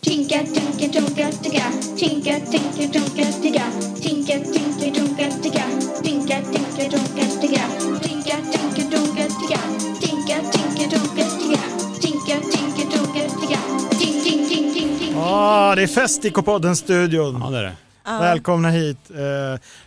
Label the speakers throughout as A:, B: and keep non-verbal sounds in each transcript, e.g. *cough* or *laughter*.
A: Tinka, tinka, tonka, ticka. Tinka, tinka, tonka, ticka. Tinka, tinka, tonka, ticka. Tinka, tinka, tonka, ticka. Tinka, tinka, tonka, ticka. Tinka, tinka, tonka, ticka. Tinka, tinka, tonka, ticka. Ting, ting, ting, ting, ting.
B: Ah, det är fest i K-podden-studion.
C: Ja, det är det.
B: Välkomna hit. Eh,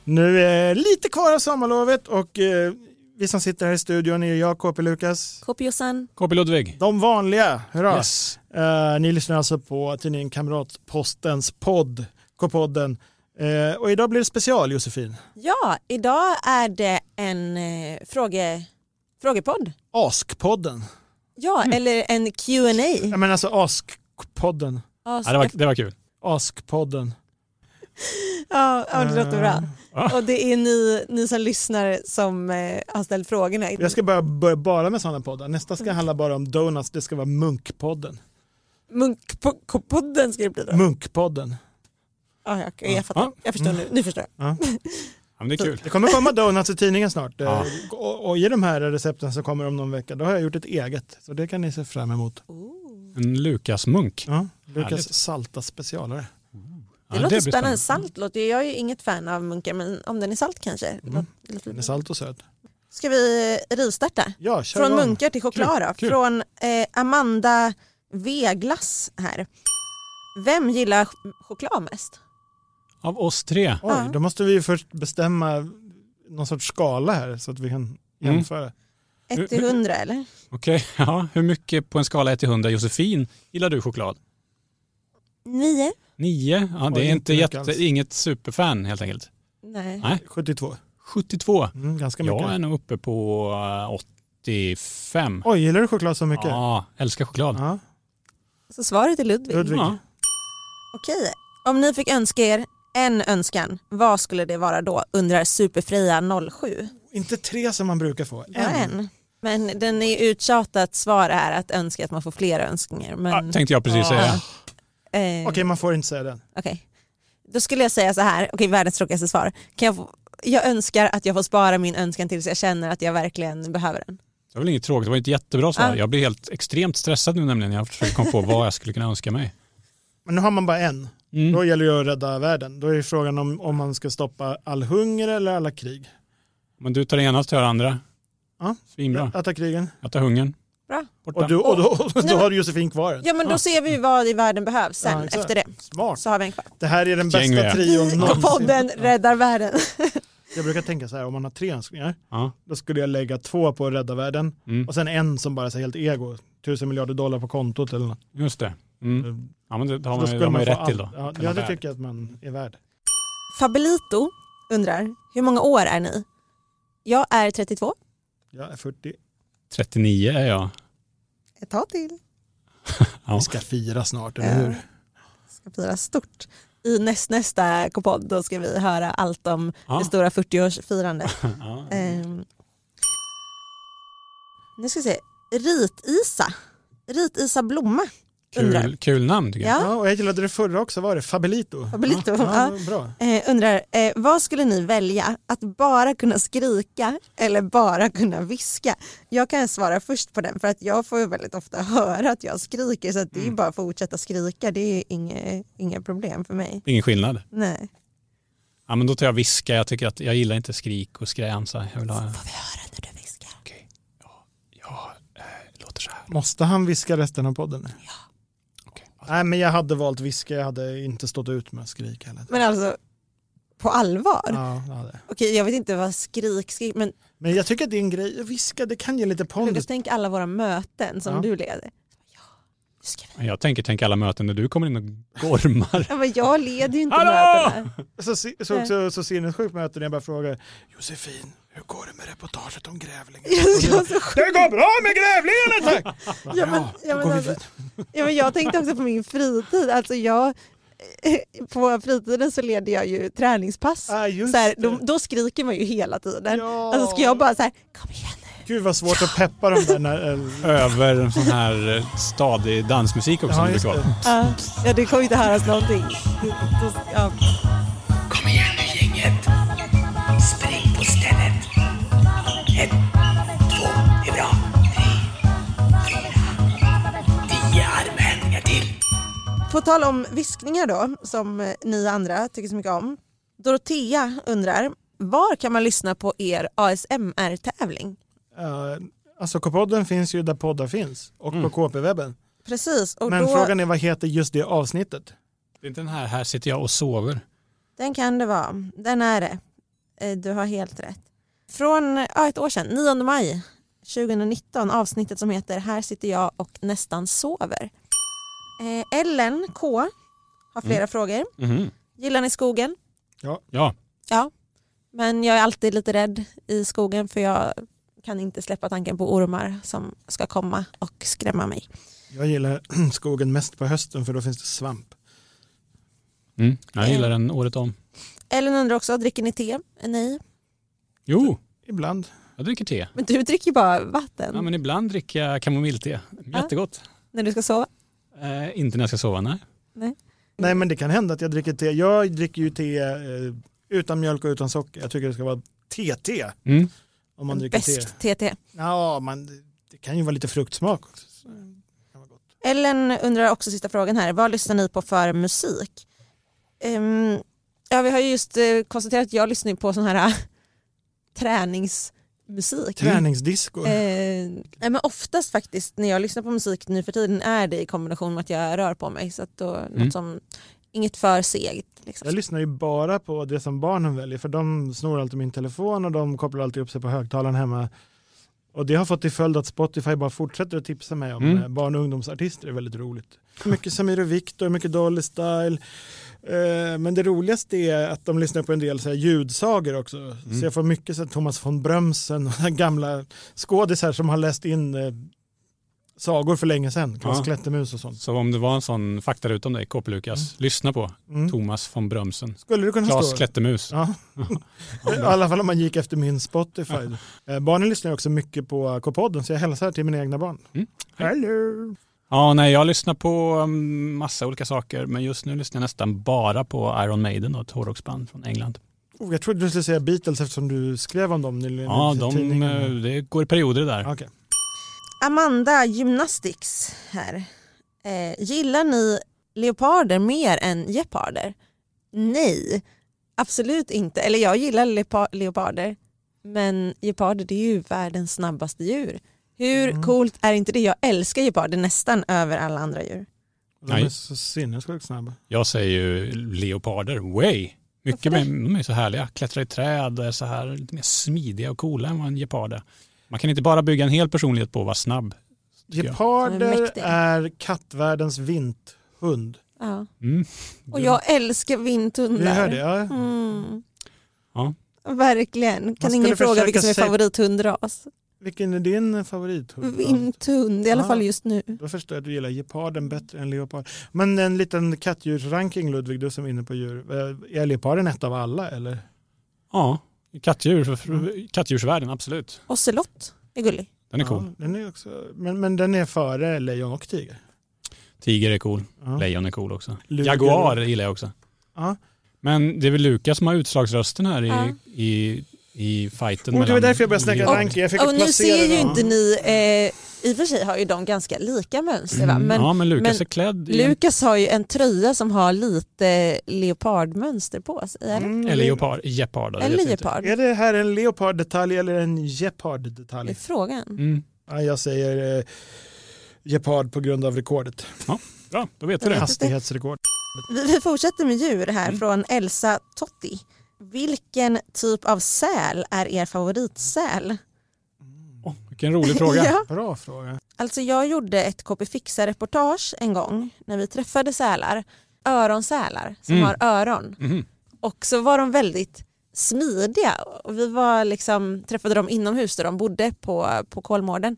B: nu är lite kvar av sommarlovet och eh, vi som sitter här i studion är jag, KP Lukas.
D: Kopiosan.
C: KP Ludvig.
B: De vanliga, hurra!
C: Yes.
B: Eh, ni lyssnar alltså på tidningen Kamratpostens podd, K-podden. Eh, och idag blir det special, Josefin.
D: Ja, idag är det en eh, fråge, frågepodd.
B: Askpodden.
D: Ja, eller en Q&A.
B: Jag menar alltså Askpodden.
D: Ja, så-
C: Ja, det, var, det var kul.
B: Askpodden.
D: ja, ja, det låter bra.
C: Ja.
D: Och det är ni, ni som lyssnar som eh, har ställt frågorna.
B: Jag ska börja, börja bara med sådana poddar. Nästa ska handla bara om donuts, det ska vara Munkpodden.
D: Munkpodden ska det bli då. Ah,
B: Munkpodden.
D: Ja, jag, jag fattar.
C: Ah. Mm. Ja.
D: Jag förstår nu. Nu förstår jag.
C: Ja, men det är kul.
B: Det kommer komma donuts i tidningen snart. Eh,
C: Ja.
B: Och, och i de här recepten som kommer om någon vecka, då har jag gjort ett eget. Så det kan ni se fram emot.
C: En Lukas Munk.
B: Ja, Lukas
C: Härligt.
B: salta specialare.
C: Ja,
D: Det låter
C: blir
D: spännande. Salt låter ju- Jag är ju inget fan av munkar, men om den är salt kanske. Det
C: Mm.
D: låter- det låter-
B: Den är salt och söt.
D: Ska vi rivstarta?
B: Ja, kör
D: Från
B: igång.
D: munkar till choklad då.
C: kul.
D: Från eh, Amanda V-glass här. Vem gillar ch- choklad mest?
C: Av oss tre.
B: Oj,
D: Ja.
B: då måste vi ju först bestämma någon sorts skala här så att vi kan
C: Mm.
B: jämföra.
D: 1 till 100 eller?
C: Okej, *laughs* ja. hur mycket på en skala 1 till 100, Josefin, gillar du choklad?
D: 9?
C: 9. Ja, det
B: Oj,
C: är
B: inte
C: inte
B: mycket
C: jätte,
B: alls.
C: inget superfan helt enkelt.
D: Nej.
C: Nej.
B: 72.
C: 72.
B: Mm, ganska mycket.
C: Jag är nog uppe på eh, 85.
B: Oj, gillar du choklad så mycket?
C: Ja, älskar choklad.
B: Ja,
D: Så svaret är Ludvig.
B: Ludvig.
C: Ja.
D: Okej, om ni fick önska er en önskan, vad skulle det vara då? Undrar Superfria 07.
B: Inte tre som man brukar få.
D: Bara
B: En.
D: en. Men den är uttjatat svar är att önska att man får flera önskningar. Men,
B: Ah,
C: Ja, tänkte jag precis säga.
D: Ja. eh,
B: Okej, man får inte säga den.
D: Okej. Då skulle jag säga så här, okej världens tråkigaste svar. Kan jag, få, jag önskar att jag får spara min önskan tills jag känner att jag verkligen behöver den.
C: Det var väl inget tråkigt, det var ett jättebra svar.
D: Ja.
C: Jag blir helt extremt stressad nu nämligen. Jag försöker komma på vad jag skulle kunna önska mig.
B: Men nu har man bara en.
C: Mm.
B: Då gäller det att rädda världen. Då är ju frågan om, om man ska stoppa all hunger eller alla krig.
C: Men du tar det ena, så tar jag det andra.
B: Ja.
C: Svinbra.
B: Att ta krigen.
C: Jag tar hungern.
D: Bra.
C: Borta.
B: Och, du, och då,
D: Nej.
B: då har du Josefin kvar den.
D: Ja men då
C: Ja.
D: ser vi vad i världen behövs sen
B: Ja, exakt.
D: efter det.
B: Smart.
D: Så har vi en kvar.
B: Det här är den
C: Gäng vi
B: bästa
C: är.
B: trion
D: Podden
B: någonsin.
D: räddar världen. *laughs*
B: Jag brukar tänka så här, om man har tre önskningar,
C: Ja.
B: då skulle jag lägga två på att rädda världen
C: Mm.
B: och sen en som bara är så helt ego. Tusen miljarder dollar på kontot eller något.
C: Just det. Mm. Ja, men det har
B: Eh, Då
C: man, ju-
B: skulle
C: det har man ju
B: få
C: rätt till då.
B: allt. Ja,
C: Den
B: ja,
C: är
B: det
C: värd.
B: tycker jag att man är värd.
D: Fabelito undrar, hur många år är ni? Jag är 32.
B: Jag är 40.
C: 39 är jag.
D: Ett tag till.
C: Ja.
B: Vi ska fira snart, eller hur?
D: Ska fira stort. I näst, nästa podd då ska vi höra allt om det
C: Ja.
D: stora 40-årsfirandet.
C: Ja.
D: Ehm. Nu ska vi se. Rit-Isa. Rit-Isa Blomma undrar.
C: Kul, kul namn tycker jag.
D: Ja,
B: Ja, och jag gillade det förra också, var det Fabelito?
D: Fabelito,
B: Ja,
D: ja.
B: bra.
D: eh, undrar eh, vad skulle ni välja? Att bara kunna skrika eller bara kunna viska? Jag kan svara först på den för att jag får ju väldigt ofta höra att jag skriker så att det är bara att fortsätta skrika. Det är inga, inga problem för mig.
C: Ingen skillnad.
D: Nej.
C: Ja, men då tar jag viska. Jag, tycker att, jag gillar inte skrik och skrämsa. Jag vill ha...
D: Får vi höra när du viskar?
C: Okej. Ja, ja eh, låter så här.
B: Måste han viska resten av podden? Ja.
C: Okej.
B: Nej, men jag hade valt viska, jag hade inte stått ut med skrik heller.
D: Men alltså på allvar?
B: Ja, jag hade.
D: Okej, jag vet inte vad skrik, skrik men
B: Men jag tycker att det är en grej, viska det kan ge lite
D: Lukas,
B: pondus.
D: tänk alla våra möten som
B: Ja.
D: du leder. Ja, nu ska vi.
C: Jag tänker tänk alla möten när du kommer in och gormar. *laughs*
D: Ja, men jag leder ju inte
C: Hallå!
D: mötena.
B: Så, så, så, så, så sinnessjukt möte när jag bara frågar Josefin, hur går det med reportaget om grävlingen?
D: Jag ska så sjuk-
B: Det går bra med grävlingen tack!
D: Ja, men-
B: Bra,
D: ja,
B: då
D: men
B: går vi
D: alltså-
B: vidare.
D: Ja, men jag tänkte också på min fritid. Alltså jag, *laughs* på fritiden så leder jag ju träningspass.
B: Ah, just
D: så här, då,
B: det.
D: då skriker man ju hela tiden.
B: Ja.
D: Alltså ska jag bara så här, kom igen nu.
B: Gud vad svårt att peppa de där när... eh,
C: Över en sån här eh, stadig dansmusik
B: Ja,
C: också. som det
B: just
C: brukar vara.
B: det.
D: Ja, Ja, det kommer inte höras någonting. Då- Ja.
E: Kom igen nu gänget. Spring på stället. Ett, två, det är bra. Tre, fyra, tio armhävningar till.
D: På tal om viskningar då, som eh, ni andra tycker så mycket om. Dorotea undrar, var kan man lyssna på er ASMR-tävling?
B: Eh, alltså K-podden finns ju där poddar finns och på KP-webben.
D: Precis, och
B: Men
D: då,
B: frågan är vad heter just det avsnittet?
C: Det är inte den här, här sitter jag och sover.
D: den kan det vara. Den är det. Eh, Du har helt rätt. Från ja, ett år sedan, 9 maj 2019, avsnittet som heter Här sitter jag och nästan sover. Eh, Ellen K har flera
B: Mm.
D: frågor.
C: Mm-hmm.
D: Gillar ni skogen?
C: Ja,
D: Ja, men jag är alltid lite rädd i skogen för jag kan inte släppa tanken på ormar som ska komma och skrämma mig.
B: Jag gillar *clears throat* skogen mest på hösten för då finns det svamp.
C: mm. jag gillar den året om.
D: Ellen undrar också, dricker ni te? Eh, Nej,
C: Jo,
B: Ibland.
C: jag dricker te.
D: men du dricker ju bara vatten
C: Ja, men ibland dricker jag kamomillte. Jättegott.
D: när du ska sova.
C: Eh, inte när jag ska sova, nej.
B: Nej men det kan hända att jag dricker te. Jag dricker ju te eh, utan mjölk och utan socker. Jag tycker det ska vara te-te
C: Mm.
B: om man dricker te.
D: Bäst TT.
B: Ja, man, det kan ju vara lite fruktsmak också. Så det kan vara gott.
D: Ellen undrar också sista frågan här, vad lyssnar ni på för musik? Ehm, ja, vi har ju just eh, konstaterat att jag lyssnar ju på sån här äh, *laughs* träningsmusik.
B: Träningsdisco.
D: Mm. Eh, nej, men oftast faktiskt när jag lyssnar på musik nu för tiden är det i kombination med att jag rör på mig. Så att då,
C: Mm.
D: något som, inget för segt.
B: Jag
D: Liksom.
B: lyssnar ju bara på det som barnen väljer för de snor alltid min telefon och de kopplar alltid upp sig på högtalaren hemma. Och det har fått till följd att Spotify bara fortsätter att tipsa mig om
C: Mm.
B: eh, barn och ungdomsartister. Det är väldigt roligt. *laughs* Mycket Samir och Viktor, mycket Dolly Style. Eh, Men det roligaste är att de lyssnar på en del så här ljudsagor också. Så jag får mycket så här Thomas von Brömsen och *laughs* gamla skådisar som har läst in eh, sagor för länge sedan. Klas
C: Ja.
B: Klättermus och sånt.
C: Så om det var en sån faktaruta om dig, Kåpe-Lukas, lyssna på
B: Mm.
C: Thomas von Brömsen.
B: Skulle du kunna
C: Klas
B: stå?
C: Klättermus.
B: Ja. I
C: Mm.
B: alla fall om man gick efter min Spotify. Eh, Barnen lyssnar ju också mycket på K-podden så jag hälsar till mina egna barn.
C: Mm.
B: Hello!
C: Ja, nej, jag lyssnar på mm, massa olika saker, men just nu lyssnar jag nästan bara på Iron Maiden, då, ett hårdrocksband från England.
B: Oh, jag trodde du skulle säga Beatles eftersom du skrev om dem nyligen
C: Ja,
B: i
C: de,
B: tidningen.
C: eh, det går i perioder det där.
B: Okej.
D: Amanda Gymnastics här. Eh, gillar ni leoparder mer än geparder? Nej, absolut inte. Eller jag gillar lepa- leoparder, men geparder det är ju världens snabbaste djur. Hur
B: Mm.
D: coolt är inte det? Jag älskar geparder nästan över alla andra djur.
B: De är
C: Nej.
B: så sinnessjukt snabba.
C: Jag säger ju leoparder, way! Mycket
D: Varför
C: mer, de är så härliga, klättrar i träd, är så här lite mer smidiga och coola än vad en gepard är. Man kan inte bara bygga en hel personlighet på att vara snabb. jag.
D: De är
B: Geparder
D: mäktiga.
B: är kattvärldens vinthund.
D: Ja.
C: Mm.
D: Och jag älskar vinthundar.
B: Vi hör det, ja.
D: Mm.
C: Ja.
D: Verkligen. Kan
B: skulle
D: ingen fråga
B: försöka
D: vilken som är
B: säga-
D: favorithundras?
B: Vilken är din favorithund?
D: Vinthund, i alla
B: Ja.
D: fall just nu.
B: Då förstår jag att du gillar geparden bättre än leopard. Men en liten kattdjursranking Ludvig, du som är inne på djur. Eh, Är leoparden ett av alla eller?
C: Ja, kattdjur, för- för- kattdjursvärlden, absolut.
D: Ocelot är gullig.
C: Den är cool.
B: Ja, den är också, men, men den är före lejon och tiger. Mm.
C: Tiger är cool,
B: Ja.
C: lejon är cool också.
B: Luger.
C: Jaguar gillar jag också.
B: Ja.
C: Men det är väl Lukas som har utslagsrösten här i,
D: Ja.
C: i, i fighten.
B: Och det var
C: mellan-
B: därför jag började snacka
C: Ja.
B: ranking. Jag fick
D: Och nu
B: placera
D: ser ju
B: dem.
D: inte ni, eh, i och för sig har ju de ganska lika mönster va? Men
C: Mm, ja, men Lukas
D: men
C: är klädd i en
D: Lukas har ju en tröja som har lite leopardmönster på sig. Eller,
B: Mm,
C: eller leopard, gepard. då, det
D: eller
C: vet jag inte.
D: leopard,
B: Är det här en leoparddetalj eller en
D: det är
B: geparddetalj?
D: frågan.
C: Mm.
B: Ja, jag säger eh, gepard på grund av
C: *laughs*
B: rekordet.
C: Bra, då vet vi det.
B: Hastighetsrekord.
D: Vi, vi fortsätter med djur här från Elsa Totti. Vilken typ av säl är er favoritsäl?
C: Åh, vilken rolig fråga.
D: *laughs* Ja.
B: Bra fråga.
D: Alltså jag gjorde ett KP Fixa-reportage en gång när vi träffade sälar, öronsälar som
C: Mm.
D: har öron.
C: Mhm.
D: Och så var de väldigt smidiga och vi var liksom, träffade dem inomhus där de bodde på, på Kolmården.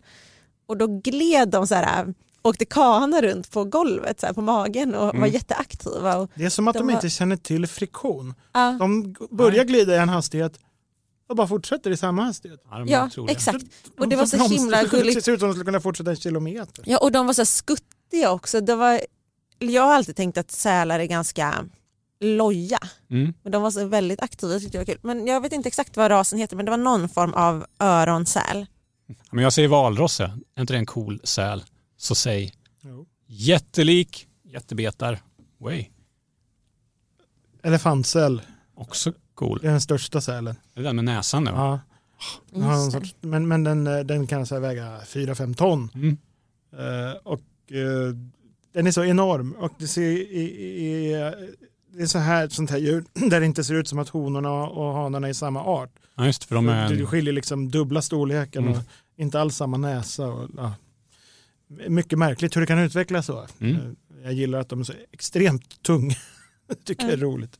D: Och då gled de så här, åkte kana runt på golvet så här, på magen och var jätteaktiva. Och,
B: Det är som att de,
D: De har-
B: inte känner till friktion.
D: ja,
B: De g- börjar glida i en hastighet och bara fortsätter i samma hastighet.
C: Ja, de
D: ja
C: tror det.
D: exakt. Och det var så
B: *laughs*
D: himla
B: Det
D: gulligt.
B: ser ut som att de skulle kunna fortsätta en kilometer.
D: Ja, och de var så här skuttiga också. Det var, jag har alltid tänkt att sälar är ganska loja.
C: Mm.
D: Men de var så väldigt aktiva, det tyckte jag var kul. Men jag vet inte exakt vad rasen heter, men det var någon form av öronsäl.
C: Ja, Men jag säger valrosse, är inte det en cool säl? Så säg
B: Jo.
C: jättelik, Jättebetar. Way.
B: Elefantsäl,
C: Också cool.
B: det är den största sälen.
C: Det är den med näsan nu.
B: Ja. Den har någon
D: Just det.
B: sorts, men men den, eh, den kan så här väga 4-5 ton.
C: Mm.
B: Eh, och eh, den är så enorm. Och det, ser, i, i, i, det är så här ett sånt här djur *clears throat* där det inte ser ut som att honorna och hanarna är samma art.
C: Ja, just det, för de
B: Det det
C: är...
B: skiljer liksom dubbla storleken
C: Mm.
B: och inte alls samma näsa. Och, ja. Mycket märkligt hur det kan utvecklas så.
C: Mm.
B: Eh, Jag gillar att de är så extremt tunga. *laughs* Det tycker jag är roligt.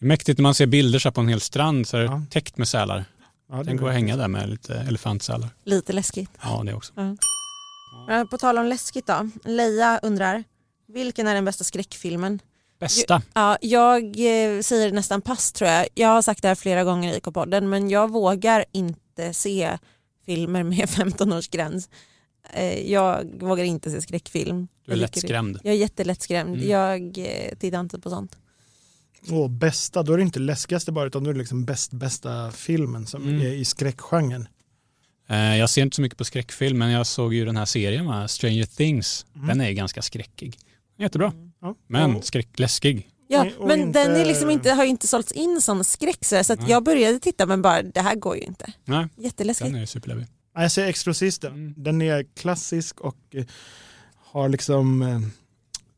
C: Det är mäktigt när man ser bilder så här på en hel strand så är det
B: Ja.
C: täckt med sälar.
B: Ja, det-
C: Tänk att hänga där med lite elefantsälar.
D: Lite läskigt.
C: Ja, det också.
D: Eh, På tal om läskigt då. Leia undrar, vilken är den bästa skräckfilmen?
C: Bästa.
D: Ja, jag eh, säger nästan pass tror jag. Jag har sagt det här flera gånger i IK-podden men jag vågar inte se filmer med *laughs* 15-årsgräns. Eh, Jag vågar inte se skräckfilm.
C: Du är
D: Jag tycker-
C: lättskrämd.
D: Jag är jättelättskrämd.
C: Mm.
D: Jag eh, tittar inte på sånt.
B: Åh, bästa, då är det inte läskigaste bara utan då är det liksom bäst bästa filmen som
C: Mm.
B: är i skräckgenren.
C: Eh, Jag ser inte så mycket på skräckfilm men jag såg ju den här serien va, Stranger Things.
B: Mm.
C: Den är ju ganska skräckig. Jättebra,
D: Mm.
B: Ja.
C: men
B: Och-
C: skräckläskig.
D: Ja,
B: Nej, och
D: men
B: inte-
D: den är liksom inte, har ju inte sålts in som skräck så, här, så att
C: Nej.
D: jag började titta men bara det här går ju inte.
C: Nej,
D: Jätteläskigt.
C: den är superläbbig.
B: Nej, Jag säger Exorcisten.
C: Mm.
B: Den är klassisk och eh, har liksom eh,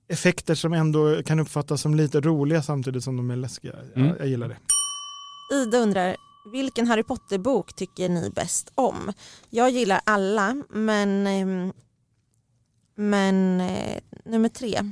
B: effekter som ändå kan uppfattas som lite roliga samtidigt som de är läskiga.
C: Mm.
B: Jag, jag gillar det.
D: Ida undrar, vilken Harry Potter-bok tycker ni bäst om? Jag gillar alla, men, ehm, men eh, nummer tre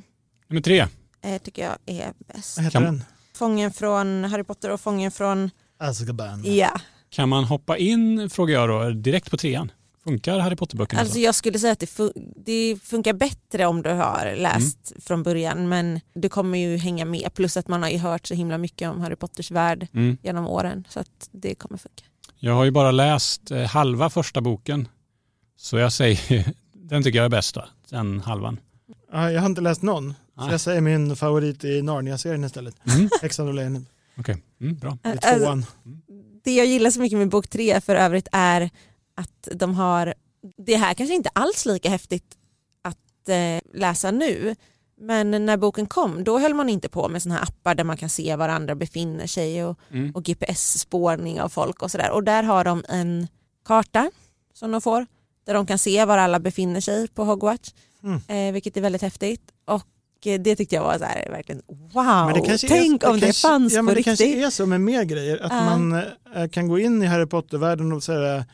C: Nummer tre,
D: eh, tycker jag är bäst.
B: Vad heter
C: Kan-
B: den?
D: Fången från Harry Potter och Fången från...
B: Azkaban.
D: Ja,
C: kan man hoppa in, frågar jag då, direkt på trean? Funkar Harry Potter-böckerna
D: alltså
C: så?
D: jag skulle säga att det, fun- det funkar bättre om du har läst från början men du kommer ju hänga med plus att man har ju hört så himla mycket om Harry Potters värld
C: Mm.
D: genom åren så att det kommer funka.
C: Jag har ju bara läst eh, halva första boken. Så jag säger, *laughs* den tycker jag är bäst då, den halvan.
B: Ja, Jag har inte läst någon. Så
C: Nej.
B: jag säger min favorit i Narnia-serien istället.
C: Mm.
B: Häxan och lejonet.
C: Okej, mm, bra.
B: Det är
D: Alltså,
B: tvåan.
D: det jag gillar så mycket med bok tre för övrigt är att de har, det här kanske inte alls lika häftigt att eh, läsa nu, men när boken kom då höll man inte på med sådana här appar där man kan se var andra befinner sig och,
C: Mm.
D: och GPS-spårning av folk och sådär. Och där har de en karta som de får där de kan se var alla befinner sig på Hogwarts,
B: Mm.
D: eh, vilket är väldigt häftigt. Och eh, det tyckte jag var så här, verkligen
B: Men det
D: wow,
B: kanske är-
D: tänk om det
B: kanske-
D: fanns
B: ja,
D: på
B: men Det
D: riktigt.
B: kanske är så med mer grejer. Att
D: Ja.
B: man eh, kan gå in i Harry Potter-världen och säga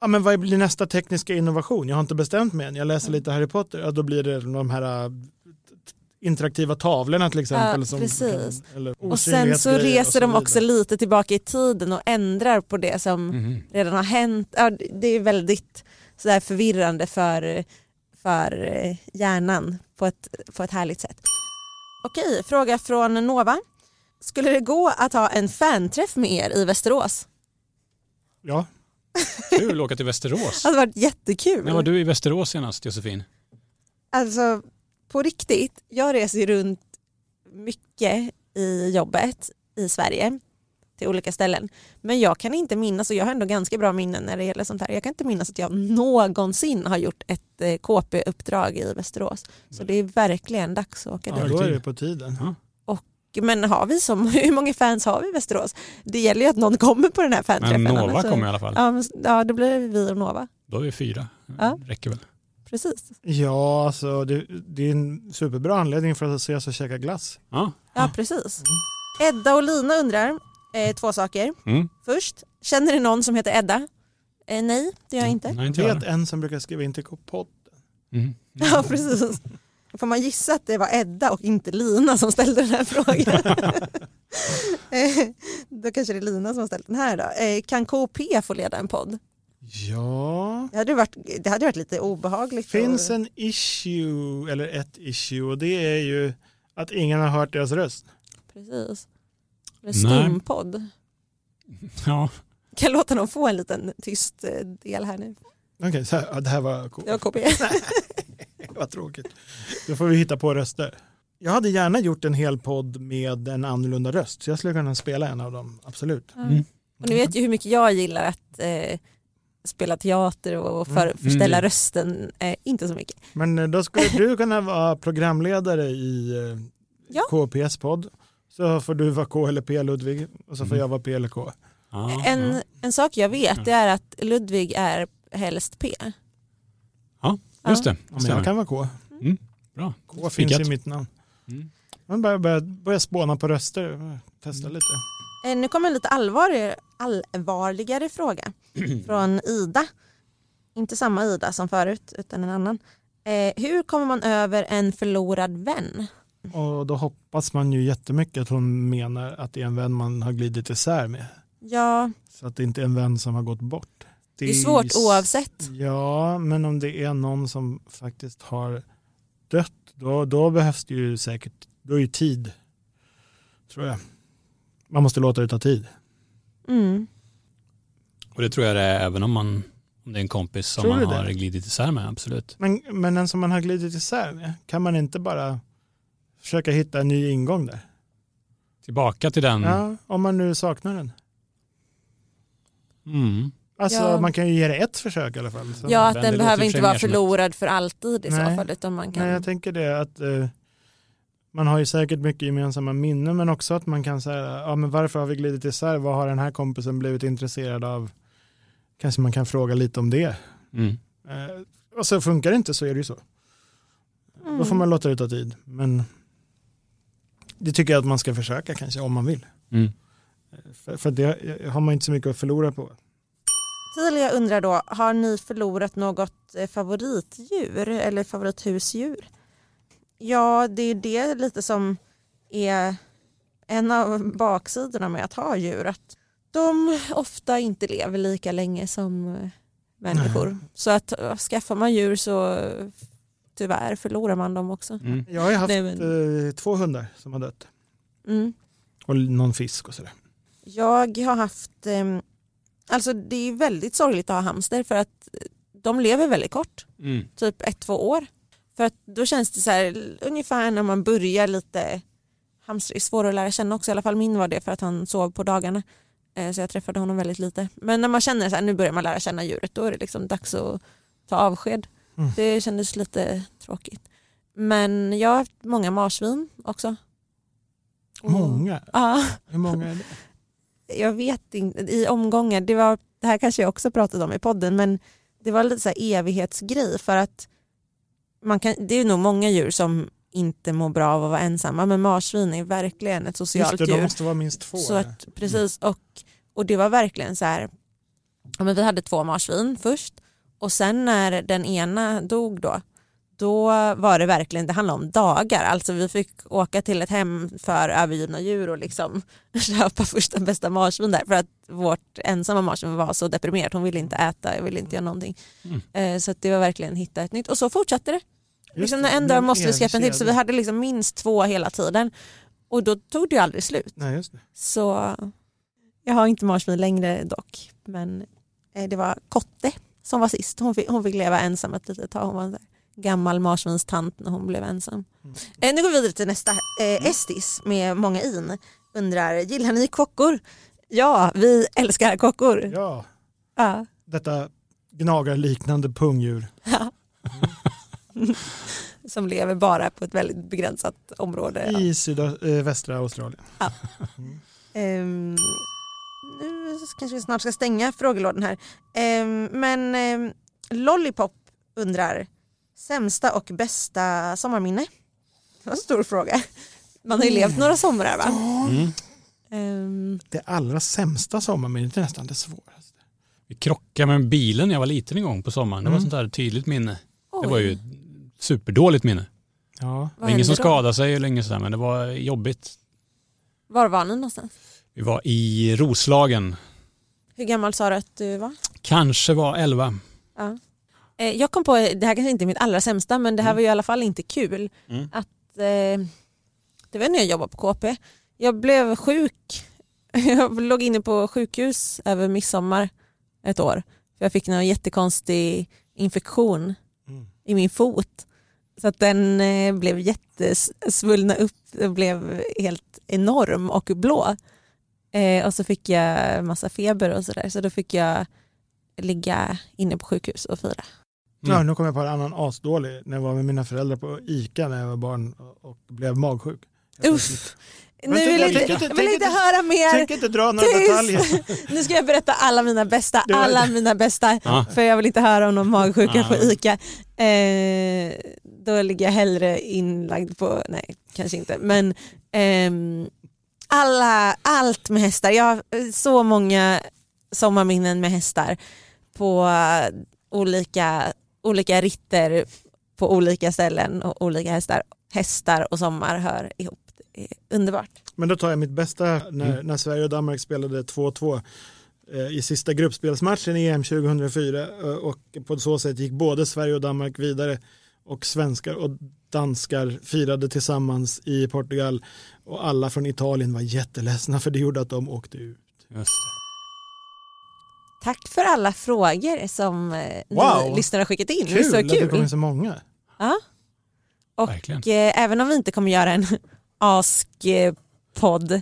B: Ja, men vad blir nästa tekniska innovation? Jag har inte bestämt mig än. Jag läser lite Harry Potter. Ja, då blir det de här eh, interaktiva tavlorna till exempel.
D: Ja,
B: som
D: precis.
B: Kan, eller
D: Och sen så
B: osynlighetsgrejer
D: reser
B: och
D: de
B: så
D: också
B: vidare.
D: lite tillbaka i tiden och ändrar på det som
C: Mhm.
D: redan har hänt. Ja, det är väldigt sådär förvirrande för, för eh, hjärnan på ett, på ett härligt sätt. Okej, fråga från Nova. Skulle det gå att ha en fanträff med er i Västerås?
B: Ja,
C: Kul att åka till Västerås.
D: Det hade varit jättekul.
C: När var du i Västerås senast Josefin?
D: Alltså på riktigt, jag reser ju runt mycket i jobbet i Sverige till olika ställen. Men jag kan inte minnas, och jag har ändå ganska bra minnen när det gäller sånt här, jag kan inte minnas att jag någonsin har gjort ett eh, KP-uppdrag i Västerås. Så det är verkligen dags att åka
B: ja
D: dit.
B: då är det på tiden.
D: Men har vi som, *laughs* hur många fans har vi i Västerås? Det gäller ju att någon kommer på den här
C: Men
D: fanträffen.
C: Nova
D: annars så-
C: kommer i alla fall.
D: alltså- Ja, men, ja, då blir det vi och Nova.
C: Då är vi fyra.
D: Ja.
C: Räcker väl.
D: Precis.
B: Ja, alltså, det, det är en superbra anledning för att ses och käka glass.
C: Ja.
D: Ja, precis. Edda och Lina undrar eh, två saker.
C: Mm.
D: först. Känner du någon som heter Edda? Eh, nej, det gör jag inte.
C: Nej, inte jag.
B: Vet en som brukar skriva in till podd.
C: Mm.
D: Ja, precis. Får man gissa att det var Edda och inte Lina som ställde den här frågan? Eh, då kanske det är Lina som har ställt den här då. Eh, kan KP få leda en podd?
B: Ja,
D: Det hade ju varit, det hade varit lite obehagligt.
B: finns
D: och,
B: en issue, eller ett issue, och det är ju att ingen har hört deras röst.
D: Precis. Eller
C: Nej.
D: stumpodd.
C: Ja.
D: Kan jag låta dem få en liten tyst eh, del här nu?
B: Okej, så här, ja, det här var coolt. *laughs*
D: Det var KP.
B: Vad tråkigt. Då får vi hitta på röster. Jag hade gärna gjort en hel podd med en annorlunda röst, så jag skulle kunna spela en av dem, absolut.
C: Mm.
D: Och ni vet ju hur mycket jag gillar att eh, spela teater och för,
C: Mm.
D: förställa rösten, eh, inte så mycket.
B: Men eh, då skulle du kunna vara programledare i eh,
D: Ja.
B: KPs podd. Så får du vara K eller P Ludvig och så får jag vara P eller K.
C: Ja,
D: En,
C: ja. Mm.
D: en sak jag vet det är att Ludvig är helst P.
C: ja, just det.
B: Ja, men jag kan vara K.
C: Mm, bra.
B: K finns
C: Spikat.
B: i mitt namn.
C: Mm.
B: Man börjar, börjar, börjar spåna på röster. Testa
C: Mm.
B: lite.
D: Eh, Nu kommer en lite allvarligare,
C: *clears throat*
D: allvarligare fråga från Ida. Inte samma Ida som förut, utan en annan. Eh, hur kommer man över en förlorad vän?
B: Och då hoppas man ju jättemycket att hon menar att det är en vän man har glidit isär med.
D: Ja,
B: Så att det inte är en vän som har gått bort.
D: det är svårt oavsett.
B: Ja, men om det är någon som faktiskt har dött, då, då behövs det ju säkert, då är ju tid, tror jag. Man måste låta det ta tid.
D: Mm.
C: Och det tror jag det är även om, man, om det är en kompis som
B: Tror
C: man
B: du
C: har
B: det?
C: glidit isär med, absolut.
B: Men, men den som man har glidit isär med, kan man inte bara försöka hitta en ny ingång där?
C: Tillbaka till den.
B: Ja, om man nu saknar den.
C: Mm.
B: Alltså
D: Ja.
B: man kan ju ge det ett försök i alla fall. Så.
D: Ja, att
C: den
D: den
C: det
D: behöver
C: låter i och för
D: inte
C: sig
D: vara
C: mer som ett-
D: förlorad för alltid i så
B: typ Nej.
D: fall. Utan man kan...
B: Nej, jag tänker det att eh, man har ju säkert mycket gemensamma minnen men också att man kan säga, ja men varför har vi glidit isär, vad har den här kompisen blivit intresserad av? Kanske man kan fråga lite om det.
C: Mm.
B: Eh, och så funkar det inte så är det ju så.
D: Mm.
B: Då får man låta det ta tid. Men det tycker jag att man ska försöka kanske om man vill.
C: Mm.
B: För, för det har man inte så mycket att förlora på.
D: Tilia undrar då, har ni förlorat något eh, favoritdjur eller favorithusdjur? Ja, det är det lite som är en av baksidorna med att ha djur. Att de ofta inte lever lika länge som eh, människor. Så att eh, skaffar man djur så eh, tyvärr förlorar man dem också.
C: Mm.
B: Jag har ju haft
D: Nej, men-
B: eh, två hundar som har dött.
D: Mm.
B: Och någon fisk och sådär.
D: Jag har haft, eh, alltså det är väldigt sorgligt att ha hamster för att eh, de lever väldigt kort,
C: Mm.
D: typ ett, två år. För att då känns det så här, ungefär när man börjar lite, hamster är svår att lära känna också, i alla fall min var det för att han sov på dagarna. Eh, Så jag träffade honom väldigt lite. Men när man känner så här, nu börjar man lära känna djuret, då är det liksom dags att ta avsked.
B: Mm.
D: Det kändes lite tråkigt. Men jag har haft många marsvin också. Och-
B: Många?
D: Ja.
B: Hur
D: *laughs*
B: många är det?
D: jag vet inte, i omgångar, det, var, det här kanske jag också pratade om i podden, men det var lite så här evighetsgrej för att man kan, det är nog många djur som inte mår bra av att vara ensamma, men marsvin är verkligen ett
B: Just
D: socialt
B: det, de
D: djur.
B: måste vara minst två.
D: Så att, precis, och, och det var verkligen så här, ja, men vi hade två marsvin först och sen när den ena dog då, då var det verkligen, det handlade om dagar, alltså vi fick åka till ett hem för övergivna djur och liksom *laughs* köpa första bästa marsvin där för att vårt ensamma marsvin var så deprimerat, hon ville inte äta, jag ville inte göra någonting.
C: Mm.
D: Eh, Så att det var verkligen hitta ett nytt och så fortsatte det.
B: Just
D: Liksom
B: det,
D: när en
B: det är
D: dag måste vi skaffa en till så vi
B: kedja.
D: hade liksom minst två hela tiden och då tog det ju aldrig slut.
B: Nej, just det.
D: Så jag har inte marsvin längre dock. Men eh, det var Kotte som var sist. Hon fick, hon fick leva ensam ett litet tag. Hon var en sån här gammal marsvinstant när hon blev ensam. Eh, nu går vi vidare till nästa. Eh, Estis med många in undrar, gillar ni kockor? Ja, vi älskar kockor. Ja.
B: Ja, detta gnagarliknande pungdjur.
D: *laughs* som lever bara på ett väldigt begränsat område.
B: I sydvästra Australien.
D: Ehm, nu kanske vi snart ska stänga frågelådan här. Ehm, men ehm, Lollipop undrar, sämsta och bästa sommarminne? Det var en stor fråga. Man har ju levt några somrar va? Ehm,
B: Det allra sämsta sommarminnet är nästan det svåraste.
C: Vi krockade med bilen när jag var liten en gång på sommaren. Det var
B: Mm.
C: sånt där tydligt minne.
D: oj,
C: Det var ju ett superdåligt minne.
B: Ja.
C: Det
D: vad
C: var ingen
D: hände
C: som
D: då?
C: skadade sig eller inget sådär, men det var jobbigt.
D: Var var ni någonstans?
C: Vi var i Roslagen.
D: Hur gammal sa du att du var?
C: Kanske var 11.
D: Ja. Eh, Jag kom på, det här kanske inte är mitt allra sämsta men det här var ju i alla fall inte kul.
C: Mm.
D: Att, eh, det var när jag jobbade på KP. Jag blev sjuk. *laughs* Jag låg inne på sjukhus över midsommar ett år. För jag fick en jättekonstig infektion
B: Mm.
D: i min fot. Så att den eh, blev jättesvullna upp och blev helt enorm och blå. Eh, och så fick jag massa feber och sådär. Så då fick jag ligga inne på sjukhus och fira.
C: Mm.
B: Ja, nu kom jag på en annan asdålig när jag var med mina föräldrar på ICA när jag var barn och blev magsjuk. Jag
D: Usch. Nu
B: Men tänk-
D: vill jag
B: tänk
D: inte,
B: inte-
D: jag vill
B: tänk
D: inte
B: inte-
D: höra mer.
B: Tänk inte dra några
D: Tyst!
B: detaljer.
D: Nu ska jag berätta alla mina bästa,
B: Det var-
D: alla mina bästa.
C: Ja.
D: För jag vill inte höra om någon magsjuka
C: Ja.
B: Ah.
D: på ICA. Eh, då ligger jag hellre inlagd på, nej kanske inte, men ehm, alla, allt med hästar. Jag har eh, så många sommarminnen med hästar på eh, olika, olika ritter på olika ställen och olika hästar. Hästar och sommar hör ihop. Det är underbart.
B: Men då tar jag mitt bästa när, när Sverige och Danmark spelade 2-2 eh, i sista gruppspelsmatchen i EM 2004 eh, och på så sätt gick både Sverige och Danmark vidare och svenskar och danskar firade tillsammans i Portugal och alla från Italien var jätteledsna för det gjorde att de åkte ut.
C: Just
D: Tack för alla frågor som eh, ni
B: Wow.
D: lyssnare har skickat in.
B: Kul,
D: det är
B: att det
D: så
B: kom
D: kul.
B: in så många.
D: Ja.
C: det,
D: Och
B: *laughs*
C: verkligen.
D: Och, eh, även om vi inte kommer göra en *laughs* ask-podd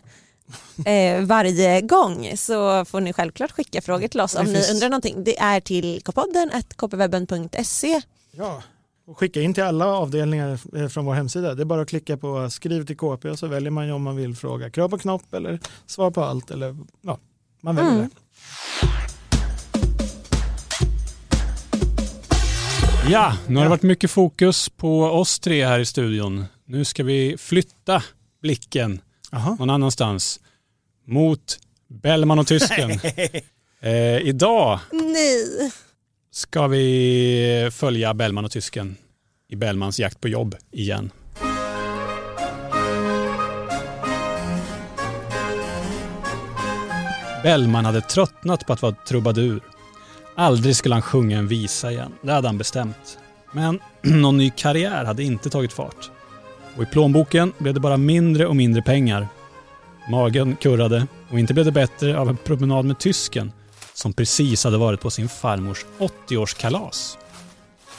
D: eh, varje gång så får ni självklart skicka frågor till oss
B: Det
D: om
B: finns-
D: ni undrar någonting. Det är till kpodden kpwebben.se.
B: Ja. Och skicka in till alla avdelningar eh, från vår hemsida. Det är bara att klicka på skriv till KP och så väljer man ju om man vill fråga krav på knopp eller svar på allt. Eller, ja, man väljer
D: Mm.
B: det.
C: Ja, nu har det varit mycket fokus på oss tre här i studion. Nu ska vi flytta blicken
B: Jaha.
C: någon annanstans mot Bellman och
D: *laughs*
C: tysken. eh, idag
D: Nej,
C: ska vi följa Bellman och tysken i Bellmans jakt på jobb igen. Bellman hade tröttnat på att vara trubadur. Aldrig skulle han sjunga en visa igen, det hade han bestämt. Men *clears throat* någon ny karriär hade inte tagit fart. Och i plånboken blev det bara mindre och mindre pengar. Magen kurrade och inte blev det bättre av en promenad med tysken som precis hade varit på sin farmors 80-årskalas.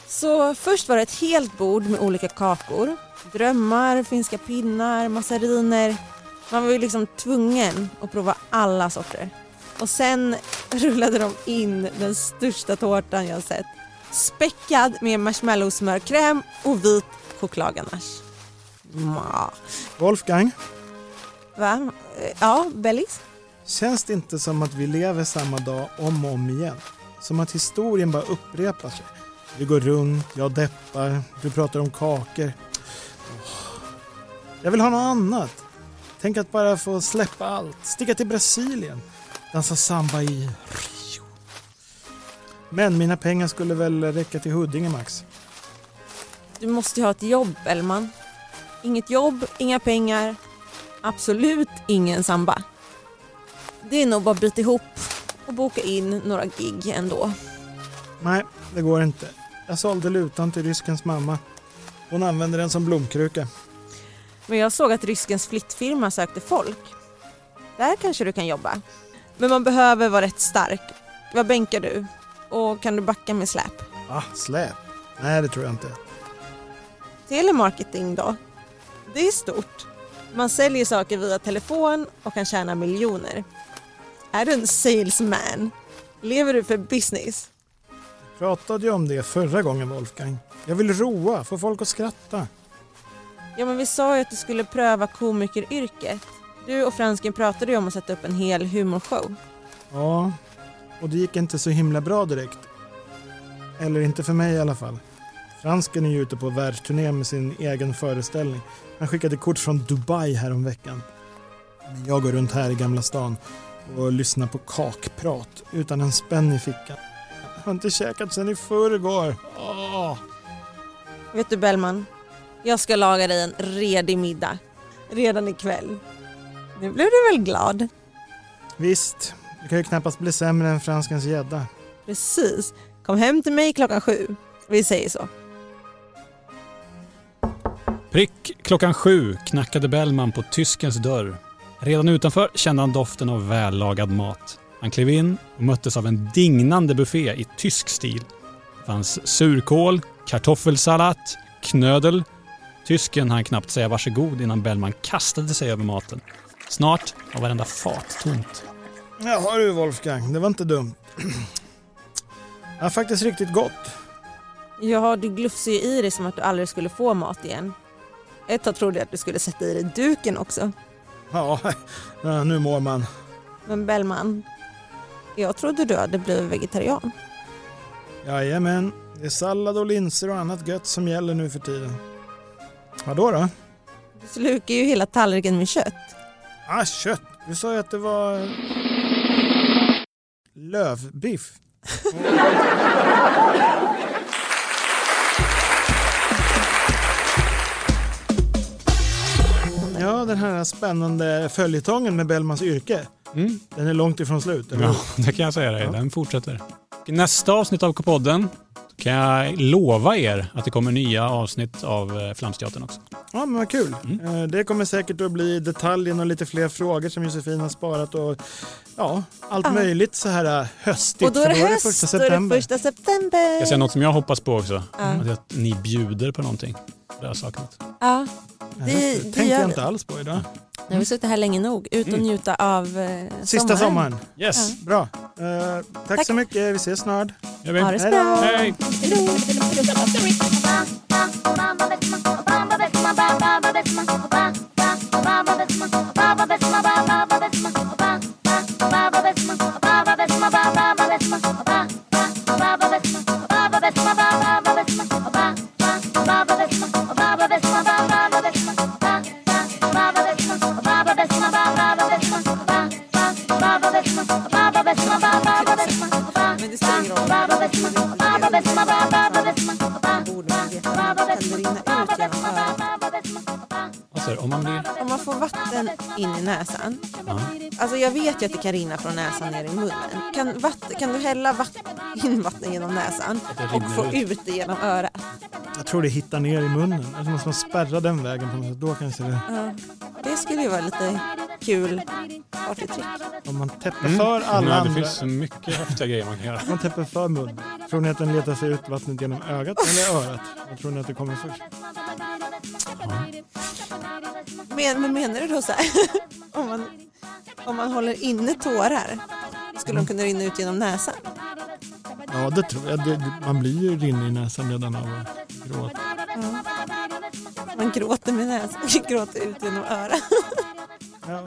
D: så först var det ett helt bord med olika kakor. Drömmar, finska pinnar, massariner. Man var ju liksom tvungen att prova alla sorter. Och sen *laughs* rullade de in den största tårtan jag sett. Späckad med marshmallowsmörkräm och vit chokladganache. Ma.
B: Wolfgang,
D: Va? Eh, Ja, Bellis?
B: känns det inte som att vi lever samma dag om och om igen? Som att historien bara upprepar sig. Vi går runt, jag deppar, du pratar om kakor. Åh. Jag vill ha något annat. Tänk att bara få släppa allt, sticka till Brasilien, dansa samba i Rio. Men mina pengar skulle väl räcka till Huddinge max.
D: Du måste ju ha ett jobb, Bellman. Inget jobb, inga pengar. Absolut ingen samba. Det är nog bara att bryta ihop och boka in några gig ändå.
B: Nej, det går inte. Jag sålde lutan till ryskens mamma. Hon använde den som blomkruka.
D: Men jag såg att ryskens flyttfirma sökte folk. Där kanske du kan jobba. Men man behöver vara rätt stark. Vad bänkar du? Och kan du backa med släp?
B: Ah, släp? Nej, det tror jag inte.
D: Telemarketing då? Det är stort. Man säljer saker via telefon och kan tjäna miljoner. Är du en salesman? Lever du för business?
B: Pratade ju om det förra gången, Wolfgang. Jag vill roa, få folk att skratta.
D: Ja men vi sa ju att du skulle pröva komikeryrket. Du och fransken pratade ju om att sätta upp en hel humorshow.
B: Ja, och det gick inte så himla bra direkt. Eller inte för mig i alla fall. Fransken är ju ute på världsturné med sin egen föreställning. Han skickade kort från Dubai häromveckan. Men jag går runt här i Gamla stan och lyssnar på kakprat utan en spänn i fickan. Jag har inte käkat sedan i förrgår. Åh.
D: Vet du Bellman, jag ska laga dig en redig middag. Redan ikväll. Nu blev du väl glad?
B: Visst, det kan ju knappast bli sämre än franskens gädda.
D: Precis. Kom hem till mig klockan sju. Vi säger så.
C: Prick klockan sju knackade Bellman på tyskens dörr. Redan utanför kände han doften av vällagad mat. Han klev in och möttes av en dignande buffé i tysk stil. Det fanns surkål, kartoffelsallad, knödel. Tysken hann knappt säga varsågod innan Bellman kastade sig över maten. Snart var varenda fat tomt.
B: Jaha du Wolfgang, det var inte dumt. *clears throat* Ja, faktiskt riktigt gott.
D: Jaha, du glufsar ju i dig som att du aldrig skulle få mat igen. Ett tag trodde jag att du skulle sätta i dig duken också.
B: Ja, *laughs* ja, nu mår man.
D: Men Bellman, jag trodde du hade blivit vegetarian.
B: Jajamän, det är sallad och linser och annat gött som gäller nu för tiden. Vadå då?
D: Du slukar ju hela tallriken med kött.
B: Ah, kött. Du sa ju att det var lövbiff. *laughs* Ja, den här spännande följetongen med Bellmans yrke.
C: Mm.
B: Den är långt ifrån slut. eller
C: Ja,
D: Mm.
B: hur?
C: det kan jag säga dig. Den fortsätter. I nästa avsnitt av K-podden kan jag lova er att det kommer nya avsnitt av eh, Flamsteatern också.
B: Ja, men vad kul. Eh, Det kommer säkert att bli detaljen och lite fler frågor som Josefin har sparat och ja, allt
D: Ja.
B: möjligt så här eh, höstigt.
D: och då är det
B: för
D: höst,
B: första
D: då är det
B: september.
D: första september.
C: Jag säger något som jag hoppas på också.
D: Ja.
C: Att jag- ni bjuder på någonting. Det har jag saknat.
D: Ja,
B: Ja,
D: det-
B: just
D: det
B: det tänkte
D: gör
B: jag
D: vi.
B: inte alls på idag.
D: nu har vi suttit här länge nog. Ut och
C: Mm.
D: njuta av eh,
B: Sista sommaren.
C: Yes,
B: Bra. Eh, tack,
D: Tack.
B: så mycket. Vi ses snart.
C: gör
D: Ha
C: vi.
D: det så bra.
C: Hej!
D: Men det spelar ingen roll.
C: Alltså, om man blir...
D: Om man får vatten in i näsan.
C: Ja.
D: Alltså jag vet ju att det kan rinna från näsan ner i munnen. Kan, vatten, kan du hälla vatten, in vatten genom näsan
C: det rinner
D: och få
C: ut.
D: ut det genom örat?
B: Jag tror det hittar ner i munnen. Eller så måste man spärra den vägen på något sätt. Då kanske det,
D: Ja. Det skulle ju vara lite kul partytrick.
B: om man täpper för alla
C: Nej, det
B: andra.
C: finns så mycket häftiga grejer man kan göra.
B: Om Man täpper för munnen. Tror ni att den letar sig ut vattnet genom ögat eller örat? Vad tror ni att det kommer först?
D: Men, men menar du då så här, *laughs* om, man, om man håller inne tårar, skulle de kunna rinna ut genom näsan?
B: Ja, det tror jag. Det, det- man blir ju rinnig i näsan redan av att gråta.
D: Man gråter med näsan, *laughs* gråter ut genom örat.
B: Ja.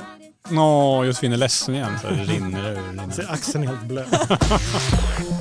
C: Åh, Josefin är ledsen igen. Så det rinner ur.
B: Ser
C: rinner.
B: axeln helt blöt.